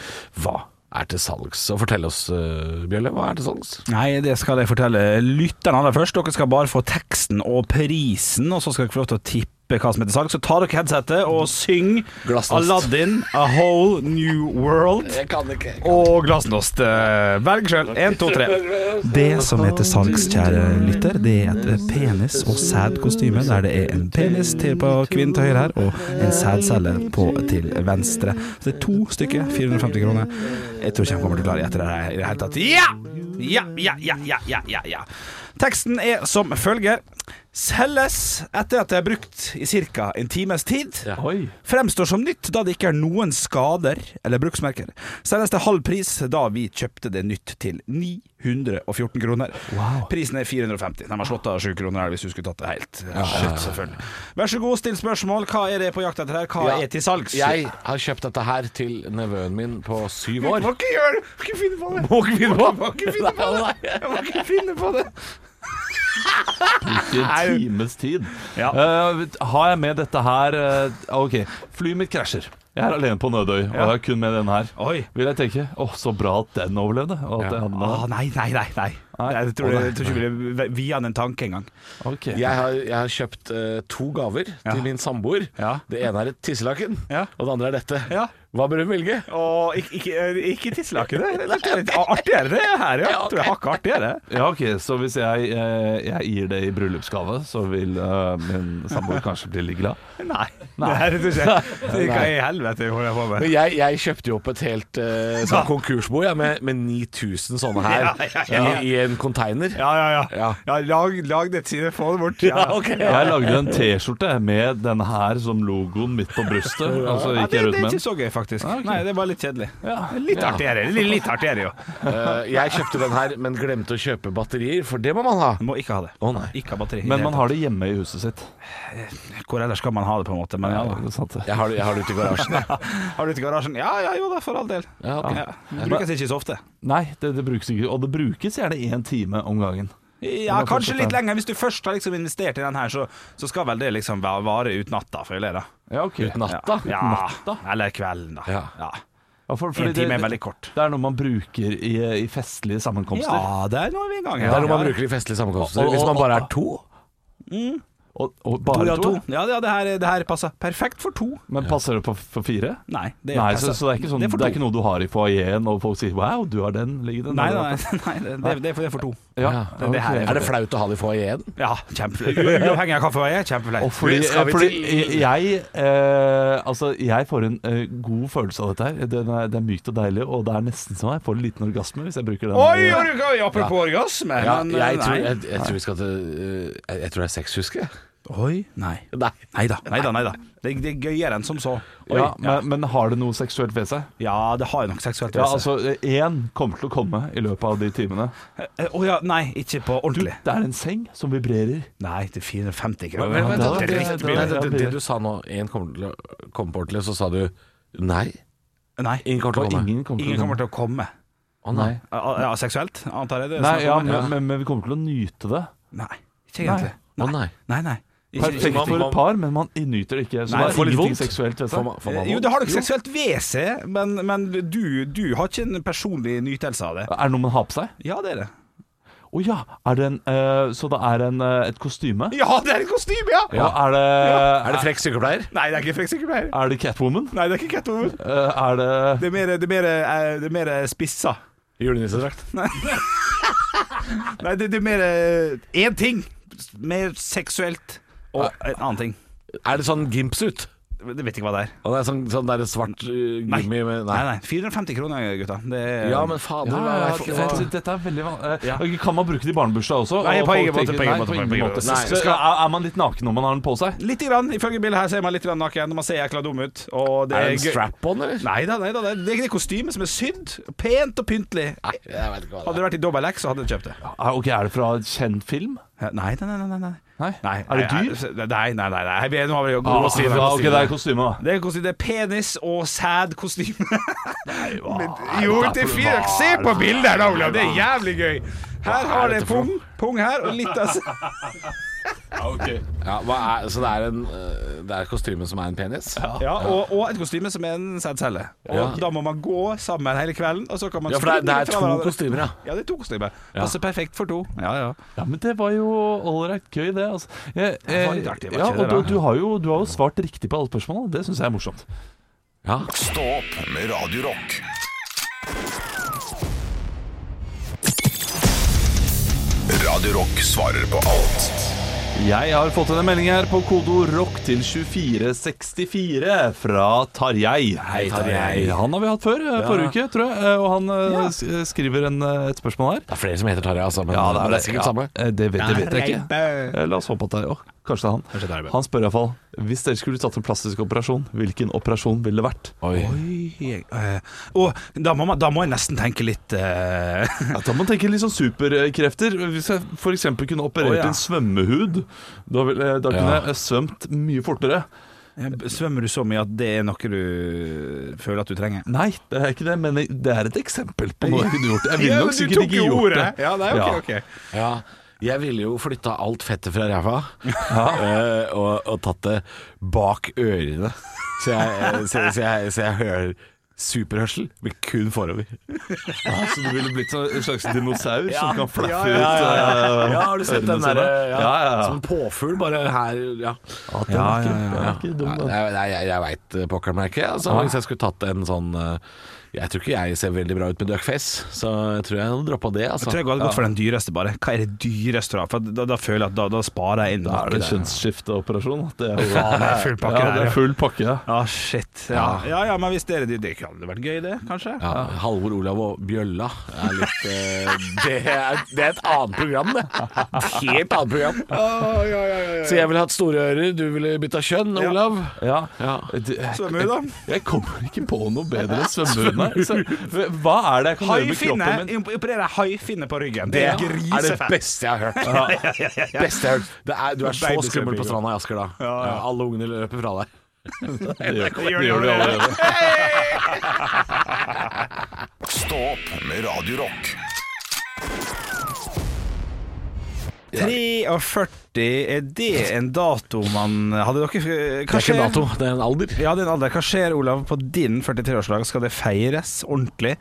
D: Hva er til salgs? Og fortell oss, eh, Bjølle, hva er til salgs?
C: Nei, det skal jeg fortelle lytterne aller først. Dere skal bare få teksten og prisen, og så skal dere få lov til å tippe hva som heter salg. Så ta dere headsetet og syng
D: Glassnost.
C: Aladdin, A Whole New World
D: Jeg kan ikke.
C: og Glassnost. Eh, Velg sjøl. Én, to, tre. Det som heter salgs, kjære lytter, det er et penis- og sædkostyme der det er en penis til på kvinnen til høyre her, og en sædcelle på til venstre. Så det er to stykker, 450 kroner. Jeg tror ikke han kommer til å klare etter det her i det hele tatt. Ja! Ja, ja, ja, ja, ja, ja, ja. Teksten er som følger. Selges etter at det er brukt i ca. en times tid.
D: Ja.
E: Oi.
C: Fremstår som nytt da det ikke er noen skader eller bruksmerker. Selges til halv pris da vi kjøpte det nytt til 914 kroner. Prisen er 450. De har slått av 7 kroner her hvis du skulle tatt det helt. Shit, selvfølgelig. Vær så god, still spørsmål. Hva er det på jakt etter her? Hva
D: Ja.
C: er til salgs?
D: Jeg har kjøpt dette her til nevøen min på syv år.
C: ikke gjøre det! Må ikke finne på det!
D: Må ikke finne på Må
C: ikke finne på
D: det!
C: Jeg må ikke finne på det!
E: Ikke en times tid.
C: Ja.
E: Eh, har jeg med dette her eh, OK. Flyet mitt krasjer. Jeg er alene på Nødøy, og jeg har kun med den her.
C: Oi.
E: Vil jeg tenke Å, så bra at den overlevde. Og at
D: Ja.
E: jeg hadde den.
C: Ah, nei, nei, nei. nei. Jeg tror, jeg, tror ikke vi ville via den tanke engang.
E: Ok.
D: Jeg har, jeg har kjøpt eh, to gaver til min samboer.
C: Ja.
D: Det ene er et tisselaken,
C: Ja.
D: og det andre er dette.
C: Ja.
D: Hva bør hun velge?
C: Og ikke, ikke, ikke tisselakenet. Det er litt artigere det her, ja. Tror jeg hakket artigere.
E: Ja, ok, Så hvis jeg, eh, jeg gir det i bryllupsgave, så vil eh, min samboer kanskje bli litt glad?
C: Nei. Nei. Det tror jeg ikke. Det er Hva i helvete holder jeg på med?
D: Men jeg, jeg kjøpte jo opp et helt eh, sånn
C: Ja.
D: konkursbo jeg, med, med 9000 sånne her
C: Ja, ja, ja.
D: I, i en container.
C: Ja, ja, ja.
D: Ja.
C: ja lag, lag det til få det bort. Ja,
D: ok.
E: Jeg lagde en T-skjorte med den her som logoen midt på brystet. Og så
C: Ja,
E: gikk
C: det,
E: jeg
C: det
E: rundt
C: er
E: med
C: ikke
E: den.
C: så gøy, faktisk. Nei, det var litt kjedelig. Litt artigere. Litt, litt artigere, jo.
D: Eh, jeg kjøpte den her, men glemte å kjøpe batterier, for det må man ha.
C: Må ikke ha det.
D: Å, nei.
C: Ikke ha batteri.
E: Men man har det hjemme i huset sitt.
C: Hvor ellers skal man ha det, på en måte? Men ja,
E: Ja,
C: da.
E: det er sant det.
D: Jeg har, det- jeg har det ute i garasjen. jeg.
C: Har du ute i garasjen? Ja, ja, jo da, for all del.
D: Ja, ok.
C: Ja. Brukes ikke så ofte.
E: Nei, det, det brukes ikke. Og det brukes gjerne én time om gangen.
C: Ja,
E: må
C: kanskje
E: fortsette.
C: litt lenger. Hvis du først har liksom investert i den her, så, så skal vel det liksom va- vare ut natta, føler jeg da.
E: Ja, ok
D: Ut natta.
C: Ja.
E: Natta?
C: Eller kvelden, da.
D: Ja.
E: Ja, for, fordi
C: En time er
E: det,
C: veldig kort.
E: det er noe man bruker i, i festlige sammenkomster.
C: Ja, der nå er vi i gang.
D: Det er
C: Ja,
D: noe man
C: ja.
D: bruker i festlige sammenkomster.
E: Og- og-
D: Hvis man bare er to.
E: Og, og bare to?
C: Ja, ja det, her, det her passer perfekt for to.
E: Men passer det på, på fire?
C: Nei, det
E: Nei,
C: passer.
E: så, så det er ikke sånn
C: Det er for to.
E: noe du har i foajeen og folk sier 'wow, du har den', ligger den
C: Nei,
E: der
C: nei,
E: oppe?»
C: nei, nei det, det, det, er for- det er for to.
E: Ja,
D: Ja,
E: ok.
D: ok. Er det flaut å ha det i foajeen?
C: Ja, kjempefleit. Uavhengig av hva jeg er,
E: Og
C: kjempefleit.
E: fordi,
D: Skal vi
E: fordi
D: til-
E: jeg eh, Altså, jeg får en eh, god følelse av dette her. Den er, det er mykt og deilig, og det er nesten som jeg får en liten orgasme hvis jeg bruker den.
C: Oi, oi, oi, apropos orgasme.
D: Ja,
C: men, eh,
D: jeg, tror,
C: nei.
D: jeg, jeg tror vi skal til øh, Jeg, jeg tror det er sexhuske.
C: Oi, nei.
D: Nei.
C: Nei da, nei da. Nei da. Det, det er gøyere enn som så. Oi,
E: ja, men, men har det noe seksuelt ved seg?
C: ja, det har jo nok seksuelt
E: Ja,
C: ved seg.
E: altså, eh, én kommer til å komme i løpet av de timene.
C: Eh, Å ja, nei, ikke på ordentlig.
E: Det er en seng som vibrerer.
C: Nei, til 450
D: Men,
C: kroner.
D: men, vent,
E: det
D: da,
E: er
D: det,
E: riktig.
D: det, det, det, det du sa nå, én kommer til å komme på ordentlig, så sa du nei.
C: Nei,
D: Ingen kommer til å
E: Og
D: komme.
E: ingen kommer til
C: ingen
E: å
C: kommer
E: komme.
C: til å komme.
D: Å nei.
C: Ja, ja, seksuelt, antar jeg det? er
E: Nei,
C: snakk
E: ja,
C: om.
E: men, men, men vi kommer til å nyte det.
C: nei, ikke egentlig.
D: Å nei.
C: Nei, nei. Ikke-
E: Perfekt
D: man-
E: for
D: man-
E: et par, men man nyter det ikke. Så
C: Nei,
E: det
D: får
E: er
D: litt
E: ingenting
D: vondt.
E: seksuelt ved
D: Får
E: seg.
D: man- får man
C: Jo,
D: vondt?
C: det har nok seksuelt ved seg, men, men du, du har ikke en personlig nytelse av det.
E: Er det noe man har på seg?
C: Ja, det er det.
E: Å ja! Er det en, eh, så det er en, eh, et kostyme?
C: Ja, det er et kostyme, ja!
E: Ja. Er det,
D: Er det frekk sykepleier?
C: Nei, det er ikke sykepleier.
E: Er det Catwoman?
C: Nei, det er ikke Catwoman.
E: Eh, Er det
C: Det er mer, det er mer, eh, det er mer spissa.
D: Julenissedrakt?
C: Nei, det, det er mer eh, én ting. Mer seksuelt og en annen ting.
D: Er det sånn gimpsuit?
C: Det vet ikke hva det er.
D: Og det er sånn, sånn der svart øh,
C: Nei.
D: gummi med
C: Nei, nei. 450 kroner, gutta. Det er,
D: Ja, men fader
E: ja,
D: hva
E: ja,
D: er det for-
E: det- Dette er veldig vanlig. Kan man bruke det i barnebursdag også?
C: Nei,
E: Og
C: på
E: folk
C: ingen måte,
E: tenker,
C: på ingen
E: nei,
C: måte, på ingen måte.
E: Nei,
D: Nei.
E: Skal, er, er man litt naken når man har den på seg?
C: Litt, grann, ifølge bildet her ser man litt grann naken. Man ser jækla dum ut. Og det
D: Er
C: er,
D: det en
C: gøy.
D: strap-on, eller?
C: Nei da, nei da. Det er- det er kostyme som er sydd. Pent og pyntelig.
D: Nei, jeg vet ikke
C: Hadde
D: hva det er.
C: det vært i dobbel X, så hadde jeg kjøpt det.
E: Er, Ah, ok, er det fra en kjent film?
C: Nei, nei, nei. nei, nei.
E: Nei.
C: nei
E: er det dyr?
C: Nei, nei, nei. nei, nei. Vi er- Nå har vi jo
E: Ah,
C: gode sider.
E: ja, ok,
C: gode
E: det er
C: sider.
E: kostyme, da.
C: Det er kostyme, det er penis og sædkostyme. Men- Jo,
E: hva er
C: det er
E: det for-
C: fint. Se på bildet her, da, Olav. Det er jævlig gøy. Her har det pung, pung her, og litt av sæd.
D: Ja, hva er, så det er, en, øh, det er kostymen som er en penis? Ja,
C: Ja, og, og et kostyme som er en sædcelle. Og
D: Ja.
C: da må man gå sammen hele kvelden, og så kan man
D: for det er, det
C: skru
D: er
C: litt fra
D: to
C: hverandre.
D: kostymer, ja.
C: Ja, det er to kostymer. Passer perfekt for to. Ja, ja.
E: Ja, men det var jo ålreit gøy, det. Altså. Jeg,
C: Det var litt artig, var
E: ja,
C: ikke det,
E: og du,
C: da?
E: du, har jo, du har jo svart riktig på alle spørsmålene. Det syns jeg er morsomt.
D: ja.
A: Stå opp med Radio Rock. Radio Rock svarer på alt
E: Jeg har fått en melding her på kodeord rock til 2464 fra Tarjei. Hei,
D: Tarjei.
E: Han har vi hatt før, eh, forrige uke, tror jeg. eh, Og han eh, s- eh, skriver en, eh, et spørsmål her.
D: Det er flere som heter Tarjei, altså, men men det, er sikkert
E: ja.
D: samme.
E: Eh, Det vet, det vet jeg ikke.
C: Reibe.
E: Eh, La oss håpe at det er å, Kanskje det er han.
C: det er Reibe.
E: Han spør iallfall hvis dere skulle tatt en plastisk operasjon, hvilken operasjon ville det vært?
D: Oi.
C: Oi, jeg, eh, å, da, må man, da må jeg nesten tenke litt eh,
E: Ja, da må man tenke litt sånn superkrefter. Hvis jeg f.eks. kunne operert
C: Å, ja.
E: en svømmehud, da, ville, da kunne
D: Ja.
E: jeg svømt mye fortere.
C: Svømmer du så mye at det er noe du føler at du trenger?
E: Nei, det er ikke det, men det er et eksempel på noe jeg kunne gjort. Jeg ville
C: Ja,
E: nok
C: men du
E: sikkert
C: tok
E: ikke
C: jo
E: gjort
C: ordet.
E: det.
C: Ja, nei,
E: Ja.
C: ok, ok.
D: Ja, jeg ville jo flytta alt fettet fra ræva eh, og, og tatt det bak ørene. Så jeg, eh, så, så jeg, så jeg hører superhørsel, men kun forover.
E: Ja, så du ville blitt sånn- en slags dinosaur som kan flaffe
D: Ja, ja, ja, ja.
E: ut eh,
D: ja, har du sett
E: ørene
D: den derre
E: sine?
D: ja,
E: eh, Ja, ja, ja.
D: Som en påfugl, bare her Ja.
E: Ja, den
C: Ja, ja,
E: er ikke-
C: ja.
E: den er ikke dum,
D: Nei,
E: den.
D: jeg jeg, jeg veit pokker meg ikke. Altså, Hvis jeg skulle tatt en sånn eh, Jeg tror ikke jeg ser veldig bra ut med duckface, så jeg tror jeg hadde droppa det.
C: Jeg
D: Altså.
C: tror jeg hadde gått for den dyreste, bare. Hva er det dyreste du har? For da, da føler jeg at da, da sparer jeg inn.
E: Da er det
C: noe der.
E: kjønnsskifteoperasjon. Det er jo
C: Ja, det er full pakke
E: ja,
C: der,
E: det
C: ja.
E: er full pakke. Ja.
C: Ja, Ah, shit. Ja. ja ja, men hvis dere Det det hadde vært gøy, det, kanskje?
D: Ja, Halvor Olav og Bjølla er litt eh, det, er, det er et annet program, det. Et helt annet program. Så jeg ville hatt store ører, du ville bytta kjønn,
C: Ja.
D: Olav.
E: Ja.
D: Ja.
E: Det-
C: Svømmehud, da?
E: Eh, Jeg kommer ikke på noe bedre enn svømmehud. nei. Så, Hva er det jeg kan gjøre med
C: Haifinne!
E: kroppen min?
C: Operere haifinne på ryggen. Det
D: Det
C: er
D: er det
C: grisefett.
D: beste jeg har hørt. Beste jeg har hørt. Det er, du er så
C: Baby
D: skummel på
C: surfing.
D: stranda i Asker da. Ja, alle ungene løper fra deg.
E: Det gjør, det
C: det gjør
E: vi
C: det.
E: allerede.
A: Stå opp med Radio Rock
C: 43, er det en dato man Hadde dere
D: Det
C: Hva
D: er ikke en
C: skjer?
D: dato, det er en alder.
C: Ja, det er en alder. Hva skjer, Olav, på din 43-årsdag? Skal det feires ordentlig?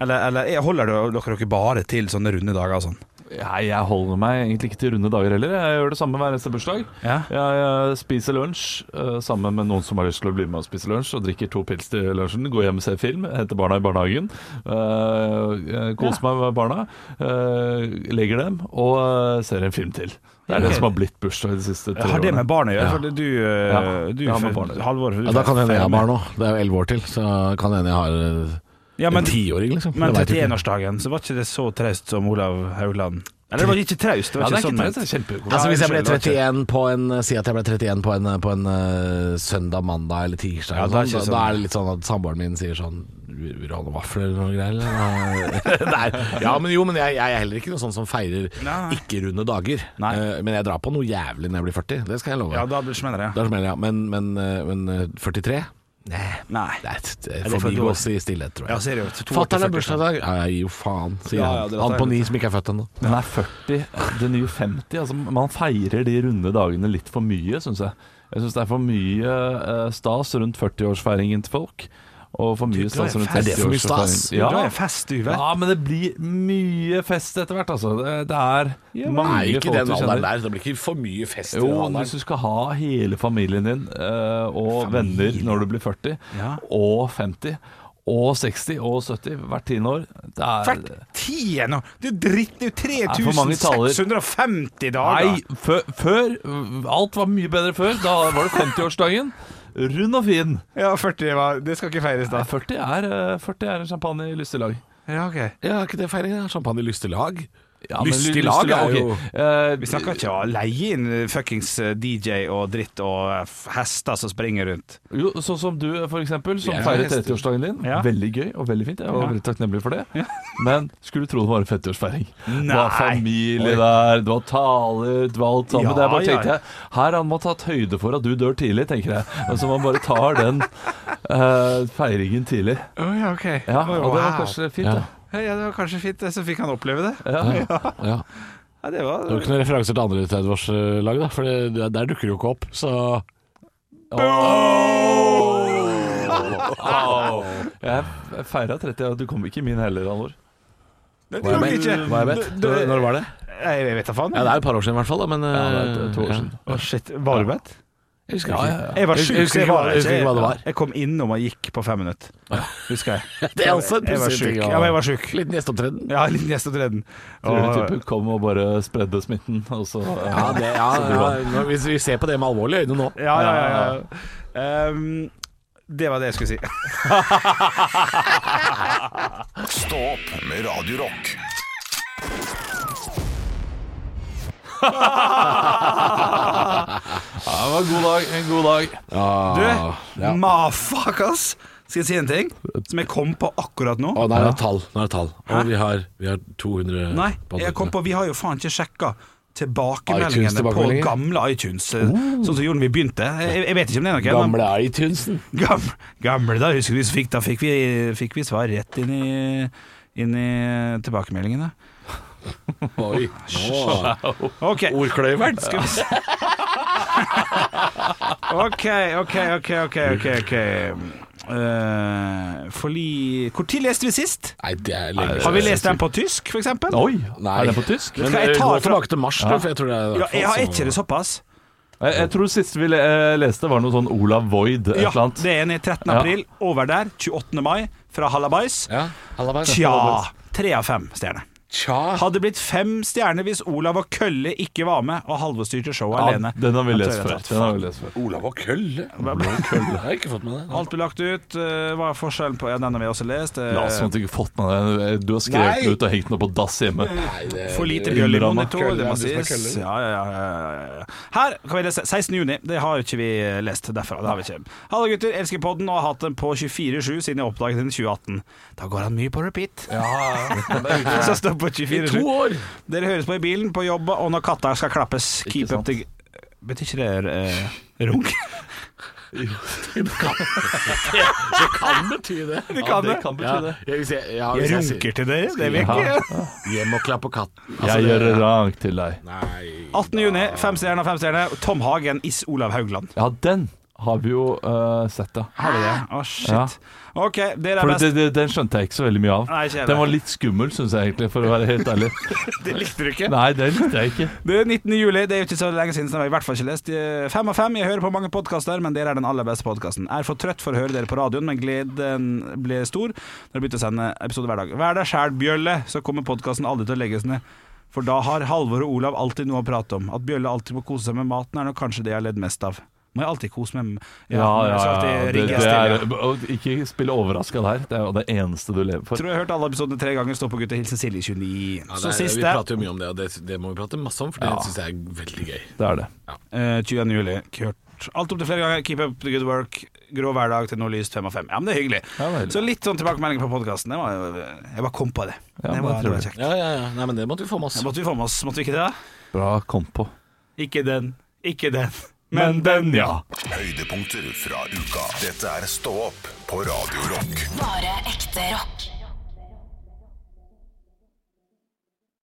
C: Eller, eller holder dere dere bare til sånne runde dager og sånn?
E: Nei, jeg holder meg egentlig ikke til runde dager heller. Jeg gjør det samme hver eneste bursdag.
C: Ja.
E: Jeg eh, spiser lunsj eh, sammen med noen som har lyst til å bli med og spise lunsj, og drikker to pils til lunsjen, går hjem og ser film, henter barna i barnehagen, eh, eh, koser meg med barna, eh, legger dem og eh, ser en film til. Det er det som har blitt bursdag de siste tre
C: Har det
E: årene.
C: med barn å gjøre?
E: Ja.
C: For du,
E: Ja,
C: eh, du
E: det har med
C: for-
E: barn å gjøre.
C: Halvor, for du
D: Ja, da kan det hende jeg har
C: feirer med-
D: barn òg. Det er jo elleve år til, så kan det hende jeg har eh,
C: Ja, men,
D: en tiåring, liksom.
C: men
D: Det vet du ikke.
C: 31-årsdagen, så var ikke det så traust som Olav Haugland. Eller det var ikke traust, det var
E: Ja, det
C: ikke
E: er
C: sånn
E: ikke
C: ment.
E: det, det er kjempegod.
D: Altså Hvis jeg ble
C: unnskyld, det var
D: 31 på en Si at jeg ble 31 på en, på en eh, søndag, mandag eller tirsdag.
C: Ja,
D: eller
C: da er ikke
D: sånn, da, da
C: sånn.
D: er det litt sånn at samboeren min sier sånn Vil vil du ha noen vafler eller noe greier? Eller? Nei. Ja, men jo, men jeg, jeg er heller ikke noe sånn som feirer
C: Nei.
D: ikke-runde dager.
C: Nei.
D: Eh, men jeg drar på noe jævlig når jeg blir 40, det skal jeg love.
C: Ja, da blir det smeller, ja.
D: Da smeller jeg, men, men, eh, men eh, 43? Nei.
C: Nei.
D: Det er- det
C: det for et år?
D: forbigås i stillhet, tror
C: Ja,
D: jeg.
C: seriøst. to år til
D: Fatter'n har
C: 40.
D: bursdag i dag. Ja, jeg gir jo faen, sier
C: Ja, ja,
D: han.
C: det
D: Han
C: vet
D: på
C: jeg.
D: ni som ikke er født ennå.
E: Den er 40, den nye 50. Altså, man feirer de runde dagene litt for mye, syns jeg. Jeg syns det er for mye eh, stas rundt 40-årsfeiringen til folk. Og for mye
C: du er
E: stas rundt
C: fest. Er
D: det for mye stas?
E: 50-årsfeiringen.
C: Du har en
E: Ja.
C: fest, du, vel?
E: ja, men det blir mye fest etter hvert, altså. Det, det er
D: Nei,
E: mange
D: ikke
E: folk
D: den
E: du
D: alderen
E: kjenner.
D: der. Det blir ikke for mye fest. i
E: Jo,
D: den
E: men
D: alderen.
E: hvis du skal ha hele familien din eh, og venner når du blir 40,
C: Ja.
E: og 50, og 60 og 70 hvert tiende år det er,
C: Hvert tiende år! Det er jo dritt, det er jo
E: Det er for mange taler.
C: 3650 dager!
E: Nei, før, før Alt var mye bedre før. Da var det 50-årsdagen. Rund og fin.
C: Ja, 40 var Det skal ikke feires,
E: Nei,
C: da.
E: 40 er, eh, 40 er en champagne i lystig lag.
C: Ja, ok
D: Ja, er ikke det feiringen? da? Champagne i lystig lag?
E: Ja, men
D: lystig
E: ly-
D: lag er
E: ok.
D: jo
E: Eh,
C: Vi snakker ikke om å leie inn fuckings eh, DJ og dritt og eh, f- hester som springer rundt.
E: Jo, sånn som du, for eksempel, som
C: Jeg er
E: feirer
C: hest.
E: 30-årsdagen din.
C: Ja.
E: Veldig gøy og veldig fint. Jeg var
C: Ja.
E: veldig takknemlig for det. Men skulle tro det var en 50-årsfeiring. Det var
C: Nei.
E: familie der, det var taler, det var alt sammen.
C: Ja,
E: det er bare
C: ja,
E: tenkte
C: ja.
E: jeg Her har man tatt høyde for at du dør tidlig, tenker jeg. Altså man bare tar den eh, feiringen tidlig.
C: Oh, ja, ok.
E: Ja,
C: Oi,
E: og det var
C: wow.
E: kanskje fint,
D: Ja.
E: da.
C: Ja, ja, det var kanskje fint, det, så fikk han oppleve det.
D: Ja.
C: Ja, det var
D: Det var ikke noen referanser til andre 30-årslag, da, for det, det- der dukker det jo ikke opp. Så
E: Jeg feira 30, og du kom ikke i min heller, Alvor.
C: Det
D: Hva er
C: gjorde
D: jeg
C: ikke.
D: bedt? Hva er jeg bedt? Når, når var det?
C: Nei, Jeg vet da faen.
D: Ja, Det er jo et par år siden i hvert fall, da, men
E: det er to år
D: eh,
E: siden.
C: Å, shit. Var du bedt?
D: Jeg husker ikke.
C: Jeg var
D: Jeg-
C: sjuk,
D: jeg husker
C: så jeg
D: ikke
C: var
D: hva-
C: der
D: jeg husker ikke hva det var.
C: Jeg kom innom og gikk på fem minutter. Husker jeg.
D: Det er også en
C: Jeg var sjuk.
D: pussig altså, ting. å-
C: Ja, men jeg var sjuk.
D: Liten gjesteopptreden.
C: Ja, en liten gjesteopptreden.
E: Tror du
C: Og-
E: typen kom og bare spredde smitten, og så eh,
D: Ja, det, ja,
E: så dro han.
D: ja, nå- hvis vi ser på det med alvorlige øyne nå.
C: Ja, ja, ja. ja. Um, det var det jeg skulle si.
A: Stå opp med Radio Rock.
E: Ja, det var en god dag. En god dag.
C: Du,
D: Ah, ja.
C: mafuck, ass! Skal jeg si en ting som jeg kom på akkurat nå?
D: Å, nå er det tall. Nå er det tall.
C: Hæ?
D: Og vi har, vi har 200
C: Nei,
D: på
C: jeg kom på Vi har jo faen ikke sjekka tilbakemeldingene på
D: iTunes-tilbakemeldinger.
C: gamle iTunes, eh, sånn som gjorde da vi begynte. Jeg, jeg vet ikke om det er noe. men-
D: Oh. Gamle iTunesen.
C: Gamle, gamle da husker vi så fikk, da fikk vi, fikk vi svar rett inn i, inn i tilbakemeldingene.
D: Oi. Nå.
C: Ok,
D: Ordkløyveren.
C: skal vi se Ok, ok, ok, ok, ok, ok Eh, Fordi Hvor tid leste vi sist?
D: Nei, det er lenge
C: Har vi lest den på tysk, for eksempel?
E: Oi,
D: Nei.
E: er det på tysk?
D: Men
C: Skal jeg
D: eh,
C: ta
D: gå
C: Ah, fra-
D: tilbake til mars, du, for jeg tror det er
C: Ja, jeg har ikke det såpass
E: Jeg, jeg tror det siste vi le- eh, leste, var noe sånn Olav Void, et
C: Ja,
E: eller annet.
C: det er en i 13.
E: Ja.
C: april Over der, 28. mai Fra Hallabais
D: Ja, hallabais.
C: Tja, 3 av 5 stjerner
D: Tja.
C: Hadde blitt fem stjerner hvis Olav og Kølle ikke var med og Halvor styrte showet
E: Ja,
C: alene.
E: den har vi
C: Jeg
E: lest
C: tror jeg
E: før.
C: har tatt
E: Den har vi lest før.
D: Olav og Kølle. Jeg har ikke fått med det.
C: Alt ble lagt ut. eh, Hva er forskjellen på ja, Den har vi også lest. eh,
E: La oss sånn at du ikke fått med deg Du har skrevet
D: Nei.
E: den ut og hengt den opp på dass hjemme.
C: for lite bjøll i
E: Innrammet.
C: monitor, det må
D: Kølle, ja, du som er
C: sies.
D: kølle.
C: Ja, ja, ja, ja, ja, ja. Her kan vi lese 16. juni. Det har ikke vi eh, lest derfra. Det har vi ikke. Hallo, gutter. Elsker podden og har hatt den på 24-7 siden jeg oppdaget den i 2018. Da går han mye på repeat. Så står det på 24-7.
D: år!
C: Dere høres på i bilen, på jobb og når katta skal klappes. Keep up
E: sant.
C: the Betyr ikke det uh, runk?
D: Det kan bety det.
C: Det
E: Ja,
C: kan
E: det
C: det.
E: kan
D: Ja,
E: bety det.
D: jeg, hvis jeg, ja, hvis
C: Jeg
D: sier-
C: runker til dere, det vil
E: Ja.
C: jeg ikke.
D: Hjem og klappe katten. Altså,
E: Jeg
D: det-
E: gjør rank til deg.
D: Nei.
C: 18. juni, fem stjerner, fem stjerner. Tom Hagen is Olav Haugland.
E: Ja, den har vi jo eh, sett, da.
C: Har du det? Å, shit.
E: Ja.
C: OK, dere er
E: For
C: best.
E: det, det, den skjønte jeg ikke så veldig mye av.
C: Nei, ikke jeg
E: den var
C: heller.
E: litt skummel, syns jeg egentlig, for å være helt ærlig.
C: Det likte du ikke?
E: Nei, den likte jeg ikke.
C: Det er 19. juli, det er jo ikke så lenge siden, så det har jeg i hvert fall ikke lest. Eh, Fem av fem, jeg hører på mange podkaster, men dere er den aller beste podkasten. Er for trøtt for å høre dere på radioen, men gleden blir stor når dere begynte å sende episode hver dag. Vær deg sjæl, Bjølle, så kommer podkasten aldri til å legges ned. For da har Halvor og Olav alltid noe å prate om. At Bjølle alltid må kose seg med maten, er nok kanskje det jeg har ledd mest av. Må jeg alltid kose meg med
E: Ja, ja,
C: jeg skal
E: ja,
C: alltid
E: Det,
C: rigge
E: det
C: stille.
E: er, og ikke spille overraska der. Det er jo det eneste du lever for.
C: Tror jeg har hørt alle episodene tre ganger. Stå på gutta, hilsen Silje 29.
F: Ja, det
C: så
F: er, vi
C: siste,
F: prater jo mye om det, og det, det må vi prate masse om, for det synes syns jeg er veldig gøy.
E: Det er det.
C: Eh, 20. juli, Kurt. Alt opp til flere ganger. Keep up the good work. Grå hverdag til noe lyst fem av fem. Ja, men det er hyggelig.
E: Ja, det er hyggelig.
C: så litt sånn tilbakemeldinger på podkasten. eh, Jeg bare kom på det.
E: Ja,
C: det
E: men
C: var, det
E: jeg
C: var
E: tror det.
C: kjekt.
F: Ja, ja, ja. Nei, men det måtte vi få med oss.
C: Ja, måtte vi få med oss, måtte vi ikke det? da?
E: Bra kom på.
C: Ikke den, ikke den.
E: Men den, ja.
A: Høydepunkter fra uka. Dette er Stå opp på Radio Rock.
B: Bare ekte rock.